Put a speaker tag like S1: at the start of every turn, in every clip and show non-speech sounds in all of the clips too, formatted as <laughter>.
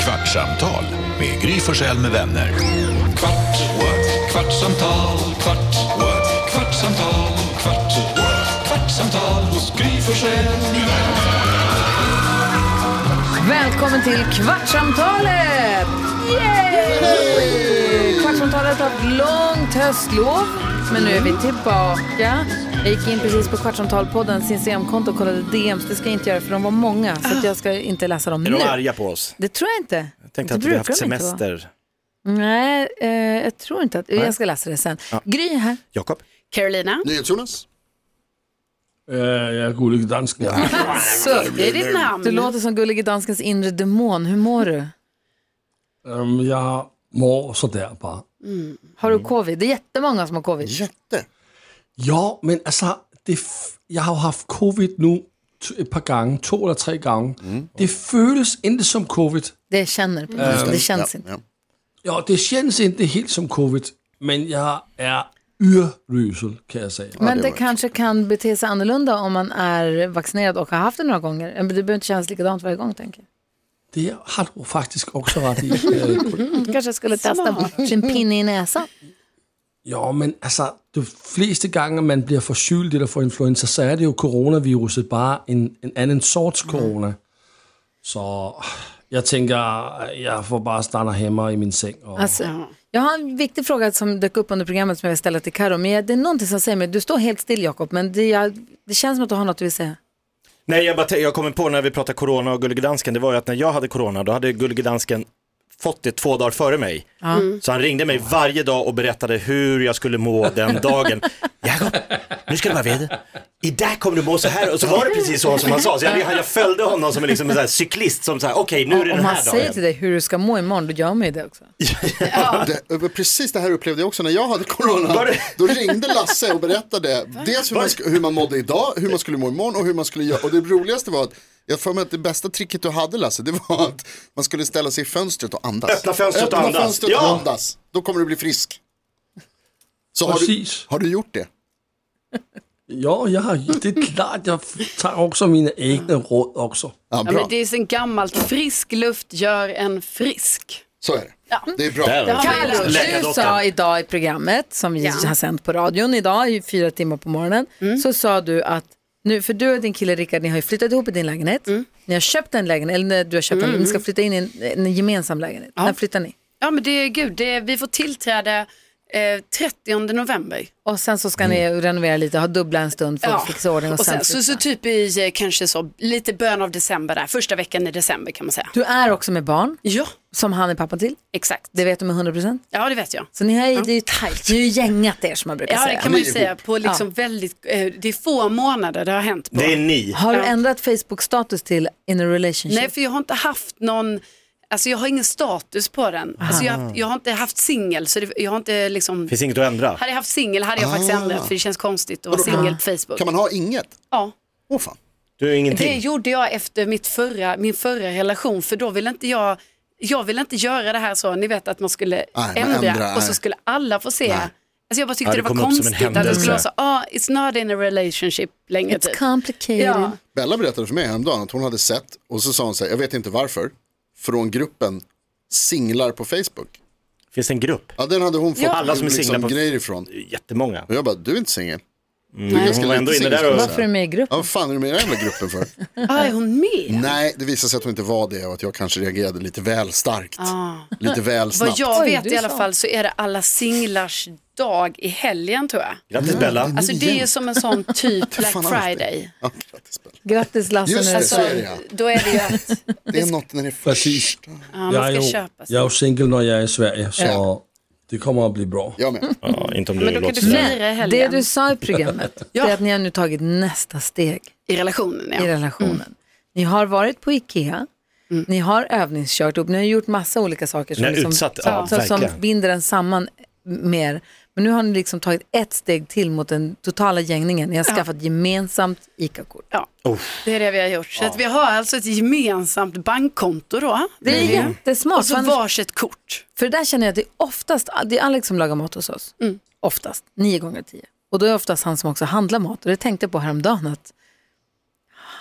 S1: Kvartsamtal med Gry Forssell med vänner. Kvart, what? kvartsamtal, kvart, what? kvartsamtal, kvart, what? kvartsamtal hos Gry Forssell med vänner.
S2: Välkommen till Kvartsamtalet! Yay! Kvartsamtalet har haft långt höstlov, men nu är vi tillbaka. Jag gick in precis på Kvartsamtalpoddens Instagramkonto och kollade DMs. Det ska jag inte göra för de var många, så att jag ska inte läsa dem
S3: Ah. Är
S2: nu.
S3: de arga på oss?
S2: Det tror jag inte.
S3: Jag tänkte
S2: det
S3: att vi har
S2: brukar
S3: haft
S2: de inte vara.
S3: semester.
S2: Nej, eh, jag tror inte att... Jag ska läsa det sen. Gry är här.
S3: Jakob?
S4: Carolina,
S5: NyhetsJonas.
S6: Eh, jag är gullig dansk. Ja.
S2: Så,
S4: det är ditt namn.
S2: du låter som Gullige Danskens inre demon. Hur mår du?
S6: Ehm, jag mår sådär bara.
S2: Har du
S3: Mm.
S2: covid? Det är jättemånga som har covid.
S5: Jätte.
S6: Ja, men alltså, det f- jag har haft covid nu t- ett par gånger, två eller tre gånger. Det känns inte som covid.
S2: Det känner på det. Det känns inte.
S6: Ja, det känns inte helt som covid, men jag är urusel kan jag säga.
S2: Men det kanske kan bete sig annorlunda om man är vaccinerad och har haft det några gånger. Men Det behöver inte kännas likadant varje gång, tänker jag.
S6: Det har du faktiskt också rätt i. Eh,
S2: Kanske jag skulle testa sin pinne i näsan.
S6: Ja, men alltså, de flesta gånger man blir förkyld eller får influensa så är det ju coronaviruset bara en, en annan sorts corona. Så jag tänker, jag får bara stanna hemma i min säng. Och...
S2: Alltså, jag har en viktig fråga som dök upp under programmet som jag vill ställa till Karo. Men jag- det är någonting som säger mig, du står helt still Jakob, men det, jag, det känns som att du har något du vill säga.
S3: Nej, jag, bara, t- jag kommer på när vi pratade corona och Gullige Dansken, det var ju att när jag hade corona, då hade Gullige Dansken fått det två dagar före mig. Så han ringde mig varje dag och berättade hur jag skulle må den
S2: <laughs>
S3: dagen. Jakob, nu ska du vara vid. Idag kommer du må så här. Och så var det precis så som han sa. Så jag, jag följde honom som en, liksom en sån här cyklist som så här, okej nu är det
S2: Om
S3: den
S2: han
S3: här
S2: säger
S3: dagen.
S2: till dig hur du ska må imorgon, då gör man ju det också.
S5: <laughs> Det, precis det här upplevde jag också när jag hade corona.
S3: Var det-
S5: Då ringde Lasse och berättade dels hur man, sk- hur man mådde idag, hur man skulle må imorgon och hur man skulle göra. Och det roligaste var att jag får mig att det bästa tricket du hade Lasse, det var att man skulle ställa sig i fönstret och andas.
S3: Öppna fönstret och
S5: Öppna
S3: andas.
S5: fönstret och
S3: Ja.
S5: andas. Då kommer du bli frisk. Så har du,
S6: Precis.
S5: har du gjort det?
S6: Ja, jag, har- det är klart, jag tar också mina egna råd också.
S5: Ja,
S4: ja, men
S5: bra.
S4: det är sen gammalt, frisk luft gör en frisk.
S5: Så är det.
S4: Ja.
S5: Det är bra.
S4: Det har vi
S2: Carro,
S4: gjort.
S2: du
S3: Läkardottern.
S2: sa idag i programmet som vi har sänt på radion idag i fyra timmar på morgonen,
S4: Mm.
S2: så sa du att nu, för du och din kille Rickard, ni har ju flyttat ihop i din lägenhet.
S4: Mm.
S2: Ni har köpt en lägenhet, eller när du har köpt en, ni ska flytta in i en, en gemensam lägenhet. När flyttar ni?
S4: Ja men det är gud, det är, vi får tillträde eh, 30 november.
S2: Och sen så ska ni renovera lite, ha dubbla en stund för att fixa ordning och,
S4: och sen, så,
S2: flytta.
S4: så typ i eh, kanske så lite början av december där, första veckan i december kan man säga.
S2: Du är också med barn,
S4: Ja,
S2: som han är pappa till.
S4: exakt.
S2: Det vet du med 100%.
S4: Ja det vet jag.
S2: Så ni har, ju- det är ju tajt, ni har ju gängat er som man brukar
S4: Ja det
S2: säga.
S4: kan man ju
S5: Ni är
S4: säga
S5: ihop.
S4: på liksom väldigt, eh, det är få månader det har hänt på.
S3: Det är ni.
S2: Har du
S4: Ja.
S2: ändrat Facebook-status till in a relationship?
S4: Nej, för jag har inte haft någon, alltså jag har ingen status på den. Alltså jag, har
S3: Ah.
S4: haft- jag har inte haft singel, så det, jag har inte liksom,
S3: Finns inget att ändra.
S4: hade jag haft singel hade jag faktiskt ändrat för det känns konstigt att vara
S5: Ah. Vadå, kan-
S4: singel på Facebook.
S5: Kan man ha inget?
S4: Ja.
S5: Åh fan.
S3: Du är
S4: Det
S3: ingenting.
S4: gjorde jag efter mitt förra, min förra relation, för då ville inte jag, jag ville inte göra det här så, ni vet att man skulle
S5: man
S4: ändra
S5: ändrar,
S4: och så
S5: nej.
S4: skulle alla få se. Alltså jag bara tyckte
S3: Ja, det
S4: det, var
S3: kom upp som en
S4: konstigt att det
S3: händelse.
S4: skulle vara så, ah, it's not in a relationship längre
S2: It's
S4: typ.
S2: complicated.
S4: Ja.
S5: Bella berättade för mig häromdagen att hon hade sett, och så sa hon så här, jag vet inte varför, från gruppen singlar på Facebook.
S3: Finns det en grupp?
S5: Ja, den hade hon fått
S3: Alla som är singlar
S5: liksom,
S3: på-
S5: grejer ifrån.
S3: Jättemånga.
S5: Och jag bara, du är inte singel. Du
S4: Nej.
S5: är ganska
S3: Hon var ändå
S5: lite
S3: inne
S5: singel,
S3: där och-
S5: skulle jag
S2: Varför är
S5: säga.
S2: du med i gruppen?
S5: Ja, vad fan är du med i den här jävla gruppen för?
S3: <laughs>
S4: Ah, är hon med?
S5: Nej, det visade sig att hon inte var det och att jag kanske reagerade lite väl starkt.
S4: Ah.
S5: Lite väl
S4: Vad
S5: snabbt.
S4: jag
S2: Oj,
S4: vet
S2: du
S4: i alla
S2: sa.
S4: fall så är det alla singlars dag i helgen tror jag.
S3: Grattis Bella.
S4: Alltså det är ju som en sån
S5: <laughs>
S4: typ Black
S5: fan annars det?
S4: Friday.
S5: Ja, grattis, Bella.
S2: Grattis Lasse
S5: Just
S2: nu.
S5: det,
S4: Så,
S5: så är det ja.
S4: då är det ju att
S5: Det är något när det är
S6: Precis.
S5: först.
S4: ja,
S6: Jag
S4: man
S6: är
S4: ska
S6: ju,
S4: köpa sig.
S6: jag är ju singel när jag är i Sverige, så
S5: Ja.
S6: det kommer att bli bra.
S5: Jag med.
S3: Ja, inte om du
S4: Men då kan
S3: låter
S4: du
S3: sådär.
S4: fira i
S2: Det
S4: helgen
S2: du sa i programmet,
S4: Ja.
S2: det är att ni har nu tagit nästa steg
S4: i relationen.
S2: i
S4: Ja.
S2: relationen. Ni har varit på Ikea, ni har övningskört upp, ni har gjort massa olika saker som,
S3: Ni har utsatt- ja,
S2: som, som
S3: verkligen.
S2: binder en samman mer. Men nu har ni liksom tagit ett steg till mot den totala gängningen. Ni har skaffat gemensamt ICA-kort.
S4: Ja, det är det vi har gjort. Så att vi har alltså ett gemensamt bankkonto då.
S2: Det är jättesmart.
S4: Och så
S2: för annars-
S4: varsitt kort.
S2: För det där känner jag att det är oftast, det är Alex som lagar mat hos oss. Oftast, nio gånger tio. Och då är det oftast han som också handlar mat. Och det tänkte jag på häromdagen att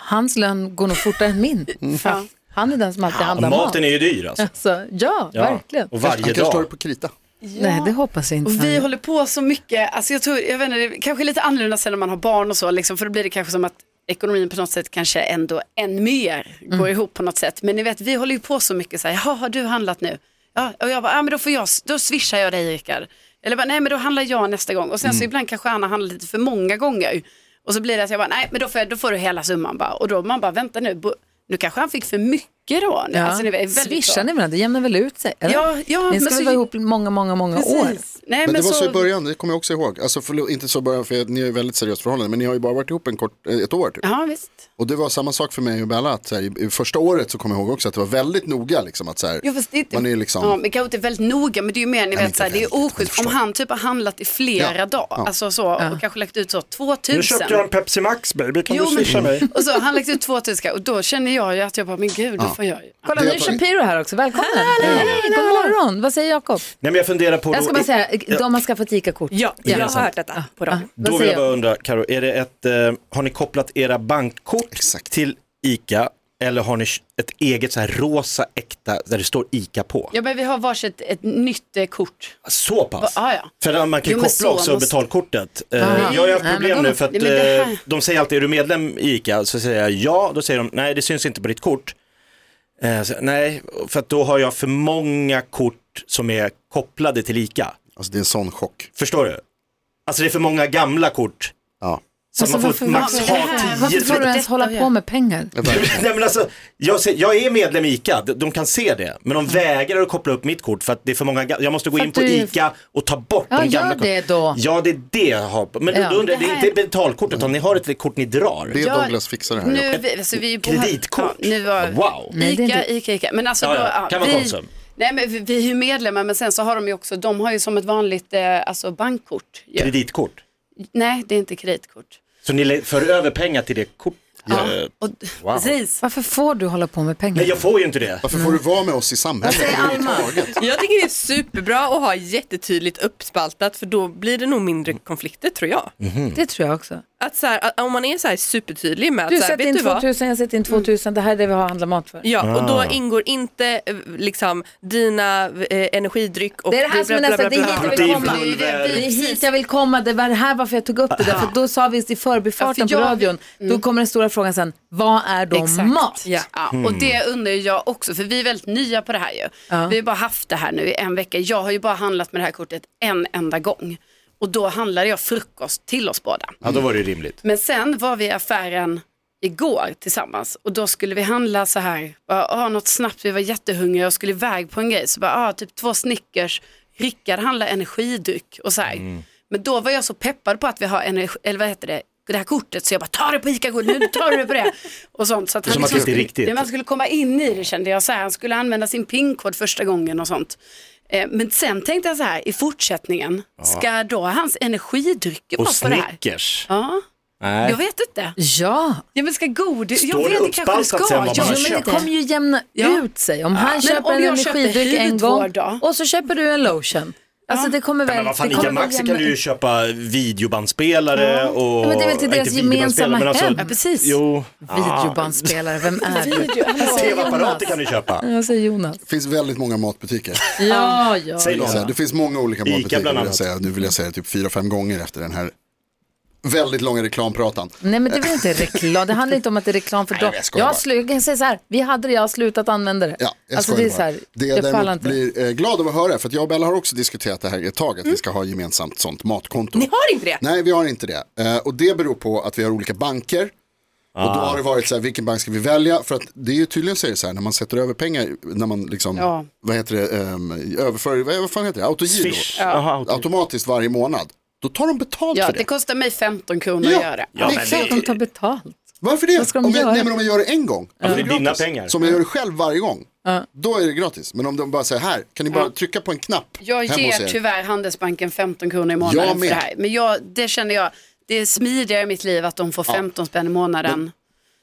S2: hans lön går nog fortare än min. För att Han är den som alltid handlar
S3: maten är ju dyr alltså.
S2: Så, ja,
S3: Ja,
S2: verkligen.
S3: Och
S5: Han
S3: varje
S5: kanske tar det
S3: dag.
S5: på krita.
S2: Nej, det hoppas jag inte.
S4: Och vi
S2: Sandra.
S4: håller på så mycket, alltså jag tror, jag vet inte, det är kanske lite annorlunda sen när man har barn och så, liksom, för då blir det kanske som att ekonomin på något sätt kanske ändå än mer
S5: Mm.
S4: går ihop på något sätt. Men ni vet, vi håller ju på så mycket så här, jaha, har du handlat nu? Ja, och jag bara, ja men då får jag, då swishar jag dig Rickard. Eller bara, nej men då handlar jag nästa gång. Och sen
S5: Mm.
S4: så ibland kanske Anna handlar lite för många gånger. Och så blir det att jag bara, nej men då får, jag, då får du hela summan bara. Och då man bara, vänta nu, bo, nu kanske han fick för mycket då.
S2: Ja.
S4: Alltså, ni vet, väldigt
S2: Swishar
S4: så.
S2: ni varandra? Det jämnar väl ut sig? Eller?
S4: Ja, ja,
S2: Ni ska
S4: men
S2: väl
S4: så-
S2: vara ihop många, många, många år?
S4: Precis. Nej,
S5: Men, det var så...
S4: så
S5: i början, det kommer jag också ihåg. Alltså förlåt, inte så i början för ni har ju väldigt seriöst förhållande, men ni har ju bara varit ihop en kort, eh, ett år typ.
S4: Ja, visst.
S5: Och det var samma sak för mig och Bella, att så här, i, i första året så kommer jag ihåg också att det var väldigt noga liksom att så här,
S4: Ja, fast det är inte,
S5: man är ju liksom,
S4: ja, men kanske inte väldigt noga, men det är ju mer, ni
S5: inte
S4: vet, såhär, det är
S5: väldigt,
S4: oschysst. Om han typ har handlat i flera
S5: Ja,
S4: dagar,
S5: ja.
S4: alltså så, och kanske lagt ut så 2000.
S7: Nu köpte jag en Pepsi Max baby, kan
S4: Jo,
S7: du
S4: men-
S7: swisha mig?
S4: Och så har han lagt ut 2000 och då känner jag ju att jag bara, men gud, då får jag ju.
S2: Kolla,
S5: Det
S2: nu
S5: har
S2: är
S5: tagit-
S2: Shapiro här också. Välkommen! Hej, god morgon! Vad säger Jakob?
S3: Nej men jag funderar på
S2: Jag ska
S3: då-
S2: bara säga, de har skaffat ICA-kort.
S8: Ja, jag har
S2: Gemensamt.
S8: hört detta på dem.
S2: Vad
S3: Då vill jag
S2: säger
S3: bara undra, Karo, är det ett, eh, har ni kopplat era bankkort
S5: Exakt.
S3: till ICA eller har ni ett eget så här rosa äkta där det står ICA på?
S4: Ja, men vi har varsitt ett nytt eh, kort.
S3: Så pass?
S4: Ja, ah, ja.
S3: För att man kan
S4: Jo, men
S3: koppla
S4: så
S3: också
S4: måste-
S3: betalkortet. Eh,
S2: Ah.
S3: jag har ju haft
S2: Nej,
S3: problem
S2: men då-
S3: nu för att
S4: Nej, men det här-
S3: eh, de säger alltid, är du medlem i ICA? Så säger jag ja, då säger de, nej det syns inte på ditt kort. Eh, så, nej, för att då har jag för många kort som är kopplade till ICA.
S5: alltså det är en sån chock.
S3: Förstår du? Alltså det är för många gamla kort.
S5: Ja.
S3: Så
S2: Alltså,
S3: man får
S2: varför-
S3: max
S4: Ja, men det
S3: ha
S4: här-
S3: tio
S2: Varför får du ens
S4: Detta
S2: hålla
S4: och
S2: på
S4: jag.
S2: med pengar?
S3: Nej, men alltså, jag, ser, jag är medlem i ICA, de, de kan se det, men de vägrar att koppla upp mitt kort för att det är för många, ga- jag måste gå
S2: Mm. För
S3: in
S2: att
S3: på
S2: du-
S3: ICA och ta bort
S2: Ja,
S3: de
S2: gör
S3: gamla
S2: det då.
S3: Ja, det är det jag har. Men
S2: Ja.
S3: då undrar, jag, det
S4: Det
S3: är
S4: här-
S3: inte betalkort utan ni har ett kort ni drar.
S5: Det är
S4: Ja,
S5: Douglas fixar det här.
S4: Nu,
S5: Jakob.
S4: vi, alltså, vi är ju på,
S3: Kreditkort?
S4: Ja, nu var,
S3: Wow.
S2: Nej, det är
S4: Ica,
S2: inte-
S4: Ica, Ica. Men alltså,
S3: Ja,
S4: då,
S3: ja. Kan vara Konsum.
S4: Nej, men vi, vi är ju medlemmar, men sen så har de ju också, de har ju som ett vanligt eh, alltså, bankkort. ju.
S3: Kreditkort.
S4: Nej, det är inte kreditkort.
S3: Så ni le- för över pengar till det kortet?
S4: Och,
S3: Wow.
S4: Precis.
S2: Varför får du hålla på med pengar?
S3: Nej, jag får ju inte det.
S5: Varför får du vara med oss i samhället? överhuvudtaget?
S8: Jag tycker det är superbra att ha jättetydligt uppspaltat för då blir det nog mindre konflikter tror jag.
S2: Det tror jag också.
S8: Att så här, att om man är så här supertydlig med att
S2: Du
S8: så här,
S2: sätter
S8: vet
S2: in
S8: du vad?
S2: 2000, jag sätter in 2000, det här är det vi har handlat mat för.
S8: Ja, och då ingår inte eh, liksom dina eh, energidryck och
S2: Det är det här som är
S8: bla,
S2: nästa,
S8: bla,
S2: det
S8: bla, bla,
S2: är hit
S8: bla.
S2: jag vill komma.
S3: Proteinpulver.
S2: Det är hit jag vill komma, det var det här varför jag tog upp det där, för då sa vi i förbifarten
S4: Ja, för
S2: på
S4: jag-
S2: radion, då kommer den stora frågan sen, vad är då
S4: Exakt.
S2: mat?
S8: Ja.
S4: Ja, och det undrar ju jag också, för vi är väldigt nya på det här ju. Vi har bara haft det här nu i en vecka. Jag har ju bara handlat med det här kortet en enda gång. Och då handlade jag frukost till oss båda.
S3: Ja, då var det ju rimligt.
S4: Men sen var vi i affären igår tillsammans och då skulle vi handla så här, bara, ah, något snabbt, vi var jättehungriga och skulle iväg på en grej. Så bara, ah, typ två Snickers, Rickard handlar energidryck och så här.
S3: Mm.
S4: Men då var jag så peppad på att vi har energi, eller vad heter det, det här kortet så jag bara tar det på ica nu tar du på det. Och sånt. Så att han
S3: Som att det inte är riktigt.
S4: Ja, Man skulle komma in i det kände jag, så här, han skulle använda sin pinkod första gången och sånt. Eh, Men sen tänkte jag så här, i fortsättningen, ska då hans energidrycker
S3: Och
S4: vara på det här?
S3: Snickers.
S4: Ja.
S3: Nej.
S4: Jag vet inte.
S2: Ja,
S4: Ja men ska godis,
S3: Står
S4: jag vet
S3: det
S4: inte kanske det ska.
S3: uppspaltat sen vad
S4: Ja,
S2: Jo, men
S3: man har
S4: men
S2: det
S3: köpt?
S4: kom-
S2: kommer ju jämna
S4: Ja.
S2: ut sig. Om han köper
S4: om
S2: en
S4: jag köper
S2: energidryck en
S4: hud
S2: gång
S4: vår dag?
S2: och så köper du en lotion. Alltså det kommer väl...
S3: Men vad fan,
S2: det kommer
S3: ICA
S2: väl
S3: Maxi
S2: jämna
S3: kan du ju
S2: ut.
S3: köpa videobandspelare och...
S2: Ja, men det är väl till
S3: nej,
S2: deras
S3: inte
S2: gemensamma
S3: videobandspelare, men alltså-
S2: hem.
S4: Ja, precis.
S3: Jo,
S5: Ah,
S2: Videobandspelare, vem är du?
S3: tv-apparater kan du köpa.
S2: Jag säger Jonas.
S5: Det finns väldigt många matbutiker.
S2: Ja, ja.
S3: Säg
S5: Vill jag
S3: någon.
S5: säga. Det finns många olika
S3: Ica
S5: matbutiker.
S3: bland
S5: Vill jag
S3: annat.
S5: säga. Nu vill jag säga det typ fyra, fem gånger efter den här väldigt långa reklampratan.
S2: Nej men det är väl inte reklam, det handlar inte om att det är reklam för dem.
S5: jag skojar
S2: Jag,
S5: bara.
S2: slu- jag kan säga så här, vi hade det, jag har slutat använda det.
S5: Ja, jag
S2: alltså
S5: skojar
S2: det är
S5: bara.
S2: så här,
S5: det jag
S2: jag pallar
S5: däremot
S2: inte.
S5: blir eh, glad av att höra, för att jag och Bella har också diskuterat det här ett tag, att vi ska ha gemensamt sånt matkonto.
S8: Ni har inte det?
S5: Nej, vi har inte det. Eh, och det beror på att vi har olika banker. Och
S3: Ah.
S5: då har det varit så här, vilken bank ska vi välja? För att det är ju tydligen så, är det så här, när man sätter över pengar, när man liksom,
S4: Ja.
S5: vad heter det, ehm, överför, vad, vad fan heter det, autogiro,
S3: Swish. Aha, okej.
S5: automatiskt varje månad, då tar de betalt
S4: Ja,
S5: för
S4: det
S5: det.
S4: kostar mig 15 kronor
S5: Ja.
S4: att göra det.
S5: Ja,
S2: det
S5: men
S2: är klart
S5: det-
S2: de tar betalt.
S5: Varför det?
S2: ska de
S5: om, jag,
S2: göra?
S5: nej, men om jag gör det en gång,
S3: Ja, för
S5: då
S3: det är dina
S5: gratis.
S3: pengar.
S5: Så om jag gör det själv varje gång, då är det gratis. Men om de bara säger här, kan ni bara trycka på en knapp
S4: Jag
S5: hemma hos
S4: ger
S5: er?
S4: tyvärr Handelsbanken 15 kronor i månaden
S5: Jag
S4: för
S5: med.
S4: det här. Men jag, det känner jag, det är smidigare i mitt liv att de får 15 spänn i månaden.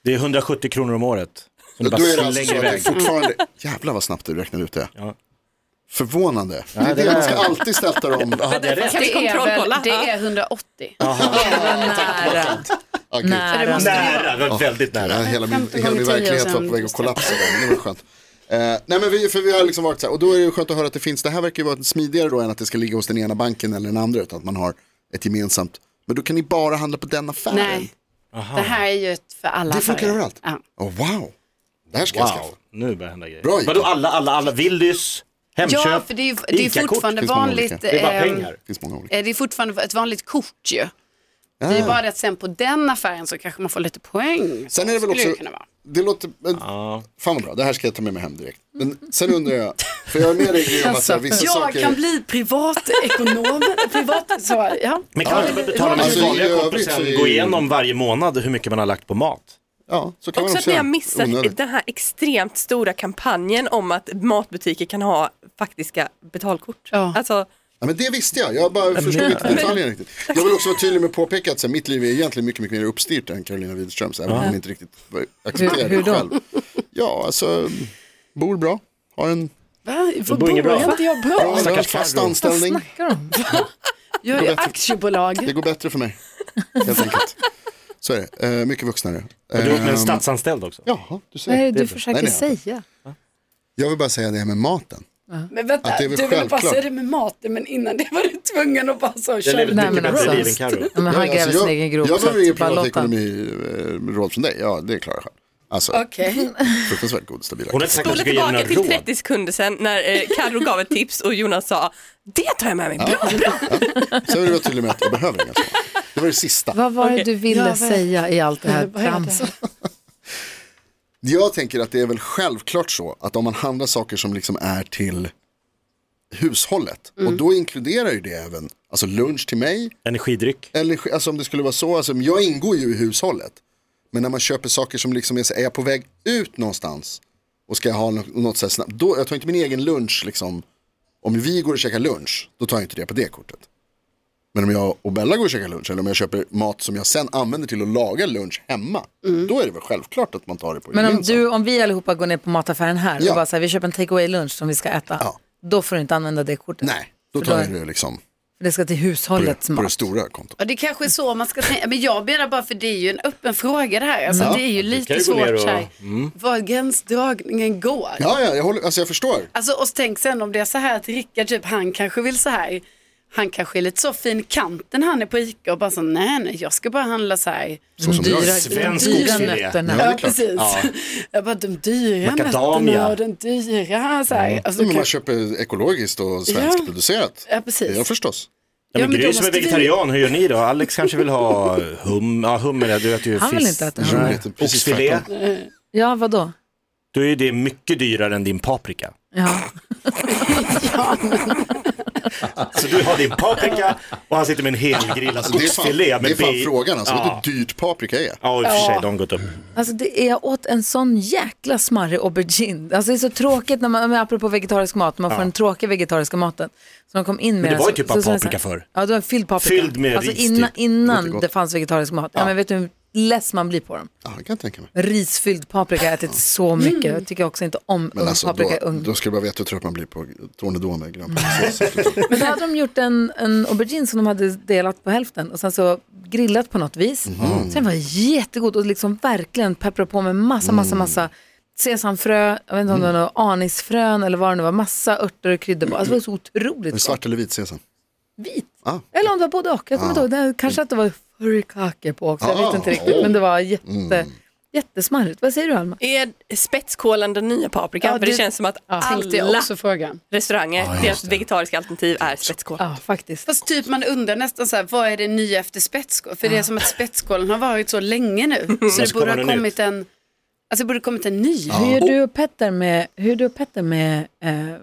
S3: Det är 170 kronor om året. Som du
S5: Då
S3: bara
S5: är det alltså så
S3: slänger
S5: att det är
S3: iväg.
S5: fortfarande, jävlar vad snabbt du räknade ut det.
S3: Ja.
S5: Förvånande. det
S3: det
S5: är det man ska
S3: är-
S5: alltid ställa om.
S3: <laughs> Hade jag rätt?
S8: Kan vi
S4: det, är
S8: kontrollkolla?
S4: det
S8: Ja.
S4: är 180.
S2: Vad nära.
S5: Ah, gud.
S2: Nära.
S3: Nära, det var väldigt
S5: Ja,
S3: nära.
S5: hela min,
S4: 15
S5: hela min
S4: gånger 10 och
S5: verklighet
S4: sen-
S5: var på väg att kollapsa där, men det var skönt. Eh, nej men vi, för vi har liksom varit så här, och då är det ju skönt att höra att det finns, det här verkar ju vara smidigare då än att det ska ligga hos den ena banken eller den andra, utan att man har ett gemensamt, men då kan ni bara handla på den affären.
S4: Nej, det här är ju ett för alla.
S5: Det funkar
S4: affärer.
S5: överallt.
S4: Ja.
S5: Åh, wow, det här ska jag skaffa.
S3: Wow, nu börjar hända grejer.
S5: Bra, Ica.
S3: Vadå alla, alla, alla, Willys, Hemköp,
S4: Ja, för det är ju det är ju
S3: Ica-kort.
S4: fortfarande
S5: finns många
S4: vanligt.
S5: olika.
S3: Det är bara
S4: ehm,
S3: pengar.
S5: Det finns många olika.
S4: eh, Det är fortfarande ett vanligt kort ju. Det
S5: Ah.
S4: är bara det att sen på den affären så kanske man får lite poäng.
S5: Sen är det väl
S4: Skulle
S5: också,
S4: kunna vara.
S5: det låter, men, fan vad bra, det här ska jag ta med mig hem direkt. Men sen undrar jag, för jag är med dig Gry, om att så här, vissa
S4: Alltså, Jag
S5: saker,
S4: kan bli privatekonom. <laughs> privat, så, ja.
S3: Men kan man inte bara betala med
S5: Alltså,
S3: sin
S5: i
S3: vanliga
S5: övrigt
S3: kort och
S5: så är
S3: sen
S5: ju-
S3: gå igenom varje månad hur mycket man har lagt på mat?
S5: ja, så kan man
S8: Också
S5: också
S8: att ni har
S5: göra.
S8: missat
S5: Onödigt.
S8: den här extremt stora kampanjen om att matbutiker kan ha faktiska betalkort.
S4: Ja.
S8: Alltså,
S5: Ja, men det visste jag, jag bara förstod
S4: <laughs>
S5: inte detaljerna riktigt. Jag vill också vara tydlig med att påpeka att så här, mitt liv är egentligen mycket, mycket mer uppstyrt än Carolina Widerströms, även om hon inte riktigt accepterar
S2: Hur- hur
S5: det
S2: då?
S5: själv. Ja, alltså, bor bra, har en
S4: Va? Vad
S3: bor inget bra.
S4: inte jag bra?
S5: bra lön,
S3: stackars
S5: fast
S3: farbror.
S5: anställning.
S4: Jag är aktiebolag.
S5: Det går bättre för mig, helt enkelt. Så är det, Eh, mycket vuxnare.
S3: Och du är med
S5: Ehm,
S3: en statsanställd också.
S5: Jaha, du
S2: Vad är det
S5: ser.
S2: du
S5: Nej,
S2: försöker
S5: nej.
S2: säga?
S5: Jag vill bara säga det här med maten.
S4: Men vänta,
S5: Att det är
S4: du
S5: väl
S4: ville bara
S5: självklart.
S4: säga det med maten, men innan det var du tvungen att bara så
S3: Jag lever
S4: köra.
S3: ett
S2: Nej,
S3: mycket
S2: men
S3: bättre
S2: alltså.
S3: liv än Carro.
S2: Ja, men han
S5: Ja,
S2: gräver
S5: alltså,
S2: sin egen grop.
S5: Jag
S2: så
S5: behöver
S2: att
S5: inget
S2: bara låt han.
S5: privatekonomiråd eh, från dig, ja det klarar jag själv. Alltså,
S4: Okej.
S5: fruktansvärt god och stabil
S3: Hon har inte sagt att
S8: spola
S3: du ska ge
S8: tillbaka
S3: några
S8: till
S3: råd.
S8: 30 sekunder sedan när eh, Carro gav ett tips och Jonas sa det tar jag med mig. Bra, bra.
S5: Sen vill jag vara tydlig med att jag behöver inga sådana. Det var det sista.
S2: Vad var det du ville
S4: Ja, vad-
S2: säga i allt det här
S4: Vad är det?
S2: tramset?
S5: Jag tänker att det är väl självklart så att om man handlar saker som liksom är till hushållet
S2: Mm.
S5: och då inkluderar ju det även alltså lunch till mig
S3: Energidryck.
S5: eller alltså om det skulle vara så, alltså, jag ingår ju i hushållet. Men när man köper saker som liksom är, så- är jag på väg ut någonstans och ska jag ha nå- något så här snabbt, då, jag tar inte min egen lunch liksom. Om vi går och käkar lunch, då tar jag inte det på det kortet. Men om jag och Bella går och käkar lunch eller om jag köper mat som jag sen använder till att laga lunch hemma, då är det väl självklart att man tar det på
S2: Mm. Men om,
S5: gemensamt.
S2: du, om vi allihopa går ner på mataffären här
S5: Ja.
S2: och bara så här, vi köper en take away lunch som vi ska äta.
S5: Ja.
S2: Då får du inte använda det kortet.
S5: Nej, då
S2: För
S5: tar
S2: då-
S5: jag det liksom
S2: För det ska till
S5: på det,
S2: hushållets
S5: på det
S2: mat.
S5: stora kontot.
S4: Ja, det kanske är så man ska tänka. Men jag menar bara för det är ju en öppen fråga det här. Alltså, Det är ju lite
S3: kan ju gå
S4: svårt
S3: ner och-
S4: så här, var gränsdragningen går.
S5: Mm. Ja, ja jag, håller, alltså jag förstår.
S4: Alltså, och tänk sen om det är så här att Rickard, typ, han kanske vill så här. Han kanske är lite så fin i kanten han är på ICA och bara så nej, nej, jag ska bara handla så här.
S5: Så som jag.
S2: Dyra,
S5: är.
S3: Svensk
S2: dyra
S3: oxfilé.
S2: nötterna.
S5: Ja, det är
S4: Ja,
S5: klart.
S4: precis. Jag bara, de dyra
S3: Macadamia.
S4: nötterna och den dyra. Så här. Alltså,
S5: Men Mm, man
S4: kanske-
S5: köper ekologiskt och svenskproducerat.
S4: Ja, precis.
S5: Ja, förstås.
S3: Ja,
S4: Ja,
S3: men
S4: men
S3: Gry
S4: då
S3: som är
S4: måste vi-
S3: vegetarian, hur gör ni då? Alex kanske vill ha hum, ja hummer, är- du vet ju
S2: Han vill
S3: fisk.
S2: inte äta
S5: hummer.
S3: Nej,
S5: Precis
S3: Oxfilé,
S2: Ja, vadå?
S3: då är ju det mycket dyrare än din paprika.
S2: Ja.
S3: Så du har din paprika och han sitter med en helgrillad
S5: Alltså, det är fan,
S3: oxfilé
S5: det är
S3: med
S5: fan
S3: bi-
S5: frågan alltså,
S3: Ja.
S5: vet du hur dyrt paprika är?
S3: Ja, i och för sig, de har gått upp.
S2: Alltså det är, jag åt en sån jäkla smarrig aubergine. Alltså det är så tråkigt när man, men apropå vegetarisk mat, man får den tråkiga vegetariska maten. Så de kom in med
S3: det
S2: den
S3: var ju
S2: så-
S3: typ
S2: så
S3: av
S2: sa jag
S3: paprika
S2: så här-
S3: förr.
S2: Ja, det var en fylld paprika.
S3: Fylld med
S2: alltså
S3: ris,
S2: innan,
S3: typ.
S5: Låter
S2: innan
S5: gott.
S2: det fanns vegetarisk mat. Ja. men vet du hur less man blir på dem?
S5: Ja, det kan jag tänka mig.
S2: Risfylld paprika har jag ätit så mycket.
S3: Mm.
S2: Jag tycker också inte om
S5: Men
S2: ung
S5: alltså,
S2: paprika i
S5: då,
S2: ugn.
S5: då ska du bara veta hur trött man blir på Tornedon med grönpaprikasås.
S2: Men då hade de gjort en, en aubergine som de hade delat på hälften och sen så grillat på något vis.
S5: Mhm. Mm.
S2: Sen var det jättegod och liksom verkligen peppra på med massa, massa,
S5: Mm.
S2: massa sesamfrö, jag vet inte om det var något anisfrön eller vad det nu var, massa örter och kryddor på. Alltså det var så otroligt
S5: Är det
S2: gott.
S5: svart eller vit sesam?
S2: Vit.
S5: Ah.
S2: Eller om det var både och, jag kommer inte ihåg. Det här- Kanske att det var furikake på också, jag vet
S5: Ah, Mm.
S2: inte riktigt.
S5: åh.
S2: Men det var jätte, jättesmarrigt. Vad säger du Alma?
S8: Är spetskålen den nya paprikan?
S4: Ja,
S8: För det
S4: det-
S8: känns som att
S4: Tänkte jag
S8: alla
S4: också frågan.
S8: restauranger, deras vegetariska alternativ är spetskål.
S2: Ja, faktiskt.
S4: Fast typ man undrar nästan så här, vad är det nya efter spetskål? För det är som att spetskålen har varit så länge nu. Så det
S3: kommer
S4: borde ha
S3: den ut.
S4: kommit en, alltså det borde ha kommit en ny.
S2: Hur
S5: Oh.
S2: gör du och Petter med, hur gör du och Petter med eh,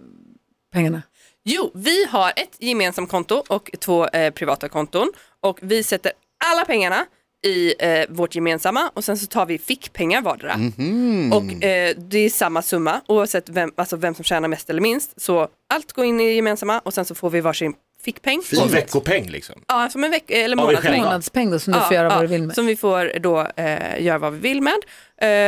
S2: pengarna?
S8: Jo, vi har ett gemensamt konto och två eh, privata konton och vi sätter alla pengarna i eh, vårt gemensamma och sen så tar vi fickpengar vardera.
S3: Mhm.
S8: Och eh, det är samma summa oavsett vem, alltså vem som tjänar mest eller minst. Så allt går in i det gemensamma och sen så får vi varsin fickpeng.
S5: Fint.
S3: Och veckopeng liksom.
S8: Ja, som en vecka eller
S3: Ja, vi
S8: månad.
S3: själva.
S2: Månadspeng då som du får göra vad du vill med.
S8: Som vi får då eh, göra vad vi vill med.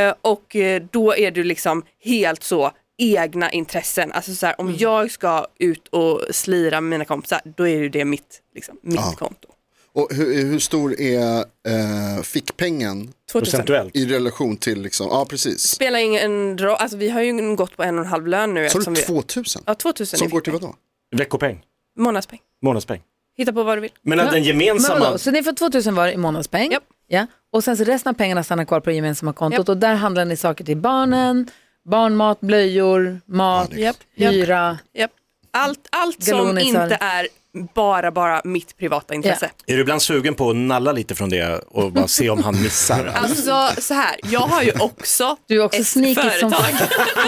S8: Eh, och eh, då är du liksom helt så egna intressen. Alltså så här,
S2: Mm.
S8: om jag ska ut och slira med mina kompisar, då är ju det mitt, liksom, mitt konto.
S5: Och hur, hur stor är eh, fickpengen
S8: 2000.
S3: procentuellt.
S5: i relation till liksom, ja precis.
S8: Spelar ingen roll, alltså vi har ju gått på en och en halv lön nu.
S5: Sa
S8: eftersom
S5: du
S8: vi...
S5: 2000?
S8: Ja, 2000
S5: Som
S8: i
S5: går till vadå?
S3: Veckopeng,
S8: månadspeng.
S3: månadspeng.
S8: Hitta på vad du vill.
S3: Men att den
S2: Men vadå,
S3: gemensamma,
S2: så ni får 2000 var i månadspeng.
S8: Japp.
S2: Ja. Och sen så resten av pengarna stannar kvar på det gemensamma kontot
S8: Japp.
S2: och där handlar ni saker till barnen, barnmat, blöjor, mat,
S8: Japp, japp,
S2: hyra.
S8: japp. Allt, allt som
S2: Galonisar.
S8: inte är bara, bara mitt privata intresse.
S3: är du ibland sugen på att nalla lite från det och bara se om han missar?
S8: Alltså så här, jag har ju också
S2: Du är också
S8: ett
S2: sneaky som
S8: företag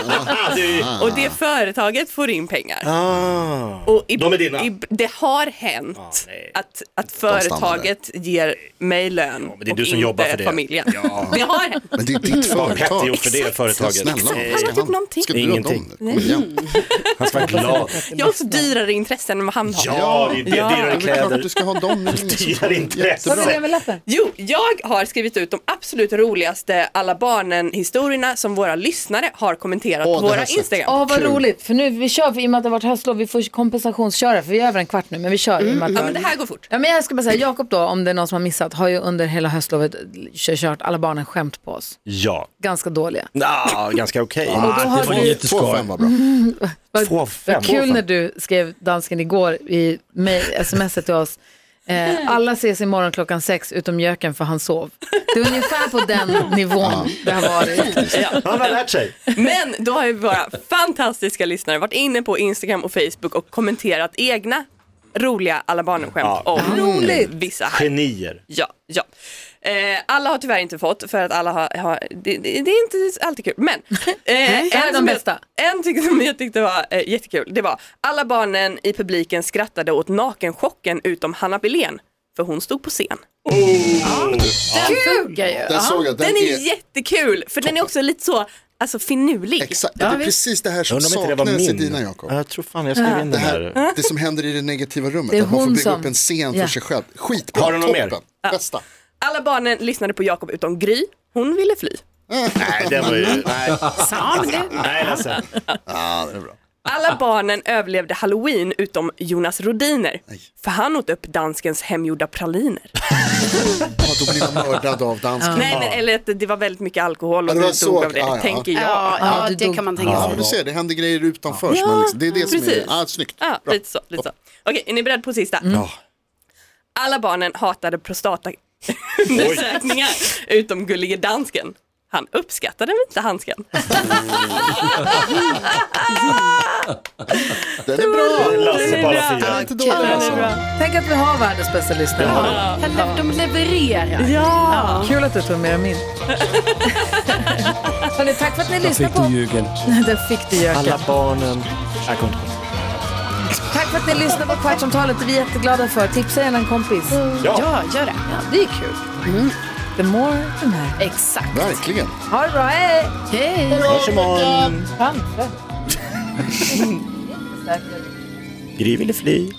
S3: Ah, du,
S8: och det företaget får in pengar.
S3: ah.
S8: Och i,
S3: De är dina.
S8: I, det har hänt
S3: nej.
S8: att, att
S5: stannar
S8: företaget ger mig lön
S3: men det är
S8: och
S3: du som
S8: inte
S3: jobbar för det.
S8: familjen. <laughs> Det har hänt.
S5: Men det är ditt
S3: Petter
S5: företag.
S3: gjorde det
S5: Ja,
S3: företaget.
S5: Snälla,
S3: Eh,
S5: ska
S8: har typ någonting.
S5: Ska du runda om
S3: Ingenting.
S5: det? Kom igen.
S3: Han ska vara glad.
S8: Jag har också dyrare intressen än vad han har.
S3: Ja, det är det.
S5: Det
S3: Dyrare
S5: är väl klart att du
S3: kläder.
S5: ska ha dem.
S3: Dyrare
S2: Vad blir det
S3: intresse.
S2: med läppen?
S8: Jo, jag har skrivit ut de absolut roligaste alla barnen-historierna som våra lyssnare har kommenterat
S5: Åh, det
S8: på
S5: här
S8: våra
S5: sett.
S8: Instagram.
S2: Åh vad
S5: Kul.
S2: roligt, för nu vi kör, för i och med att det har varit höstlov, vi får kompensationsköra för vi är över en kvart nu, men vi kör. I och med att
S8: Mm. Ja, men det här går fort.
S2: Ja, men jag ska bara säga, Jakob då, om det är någon som har missat, har ju under hela höstlovet kört alla barnen skämt på oss.
S3: Ja,
S2: Ganska dåliga.
S3: Nja, ganska okej.
S2: då
S6: Ah,
S2: har
S6: det var
S2: du-
S5: Två
S6: jätteskoj.
S5: fem var bra.
S2: Vad-
S3: Två, fem,
S2: vad kul
S3: två, fem.
S2: när du skrev dansken igår i mej- smset till oss. Eh, alla ses imorgon klockan sex utom Jöken för han sov. Det är ungefär på den nivån det har varit.
S3: Han har lärt sig.
S8: Men då har ju våra fantastiska lyssnare varit inne på Instagram och Facebook och kommenterat egna roliga alla barnen-skämt
S3: Ja. Mm.
S8: om
S2: Roligt.
S8: vissa här.
S3: Genier.
S8: Ja, ja. Eh, alla har tyvärr inte fått för att alla har, har det, det det är inte alltid kul.
S2: <laughs>
S8: Men eh,
S2: det här är de
S8: som
S2: bästa.
S8: Jag, en tyck, som jag tyckte var eh, jättekul, det var alla barnen i publiken skrattade åt nakenchocken utom Hanna Billén för hon stod på scen.
S2: Den funkar ju.
S5: Den såg jag,
S8: Den,
S5: den
S8: är,
S5: är
S8: jättekul för den är också lite så alltså finurlig.
S5: exakt, det är precis det här
S3: Jag
S5: som
S3: undrar om inte det var
S5: saknades i
S3: min.
S5: dina Jakob. Äh.
S3: Ja, Jag tror fan jag skrev in
S5: Det
S3: den här.
S5: här, det som händer i det negativa rummet,
S2: Mm. är
S5: att man får
S2: hon
S5: bygga
S2: som-
S5: upp en scen för
S2: Ja.
S5: sig själv. Skitbra,
S3: Har du något mer?
S5: toppen, bästa.
S8: Alla barnen lyssnade på Jakob utom Gry, hon ville fly.
S3: <laughs> Nej, den var ju...
S4: Sa han det?
S3: Nej, Lasse.
S5: Ja, det är bra.
S8: Alla barnen överlevde halloween utom Jonas Rodiner för han åt upp danskens hemgjorda praliner.
S5: Ja, då blir man mördad av dansken.
S8: Nej, men, eller att det var väldigt mycket alkohol
S5: Ja, det
S8: och du
S5: var
S8: dog
S5: så.
S8: av det,
S5: Ja, ja.
S8: tänker jag. Ja,
S4: Ja, ja,
S2: du
S4: det
S2: dog.
S4: kan man tänka
S5: Ja,
S4: sig.
S5: men du ser, det händer grejer utanför. som man liksom, det är det som
S8: precis.
S5: är ah, snyggt. Bra. Mm.
S8: lite så. Lite så. Okej, är ni beredda på sista? Alla barnen hatade
S5: <laughs>
S8: prostataundersökningar utom gullige dansken. Han uppskattade inte handsken.
S5: Den är bra.
S3: Lasse på alla
S5: Den är
S3: fyra.
S5: inte dålig alltså.
S2: Tänk att vi har världens bästa lyssnare.
S4: Eller De levererar.
S8: Ja!
S2: Kul att du tog med dig <laughs> min. Hörrni, tack för att ni
S6: Der fik
S2: lyssnade
S6: du
S2: på... <laughs>
S6: Jürgen.
S2: Där fick du Jöken.
S3: Alla barnen. Jag kommer inte ihåg.
S2: Tack för att ni lyssnade på Kvartsamtalet. Vi är jätteglada för. Tipsa gärna en kompis.
S4: Ja, gör det.
S2: Det är kul. The more, the merrier.
S4: Exakt.
S5: Verkligen.
S2: Ha det bra. Hej!
S4: Hej.
S2: Kanske.
S3: Gry ville fly.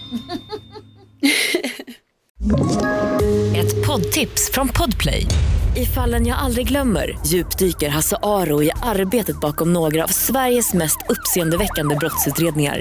S9: Ett poddtips från Podplay. I fallen jag aldrig glömmer djupdyker Hasse Aro i arbetet bakom några av Sveriges mest uppseendeväckande brottsutredningar.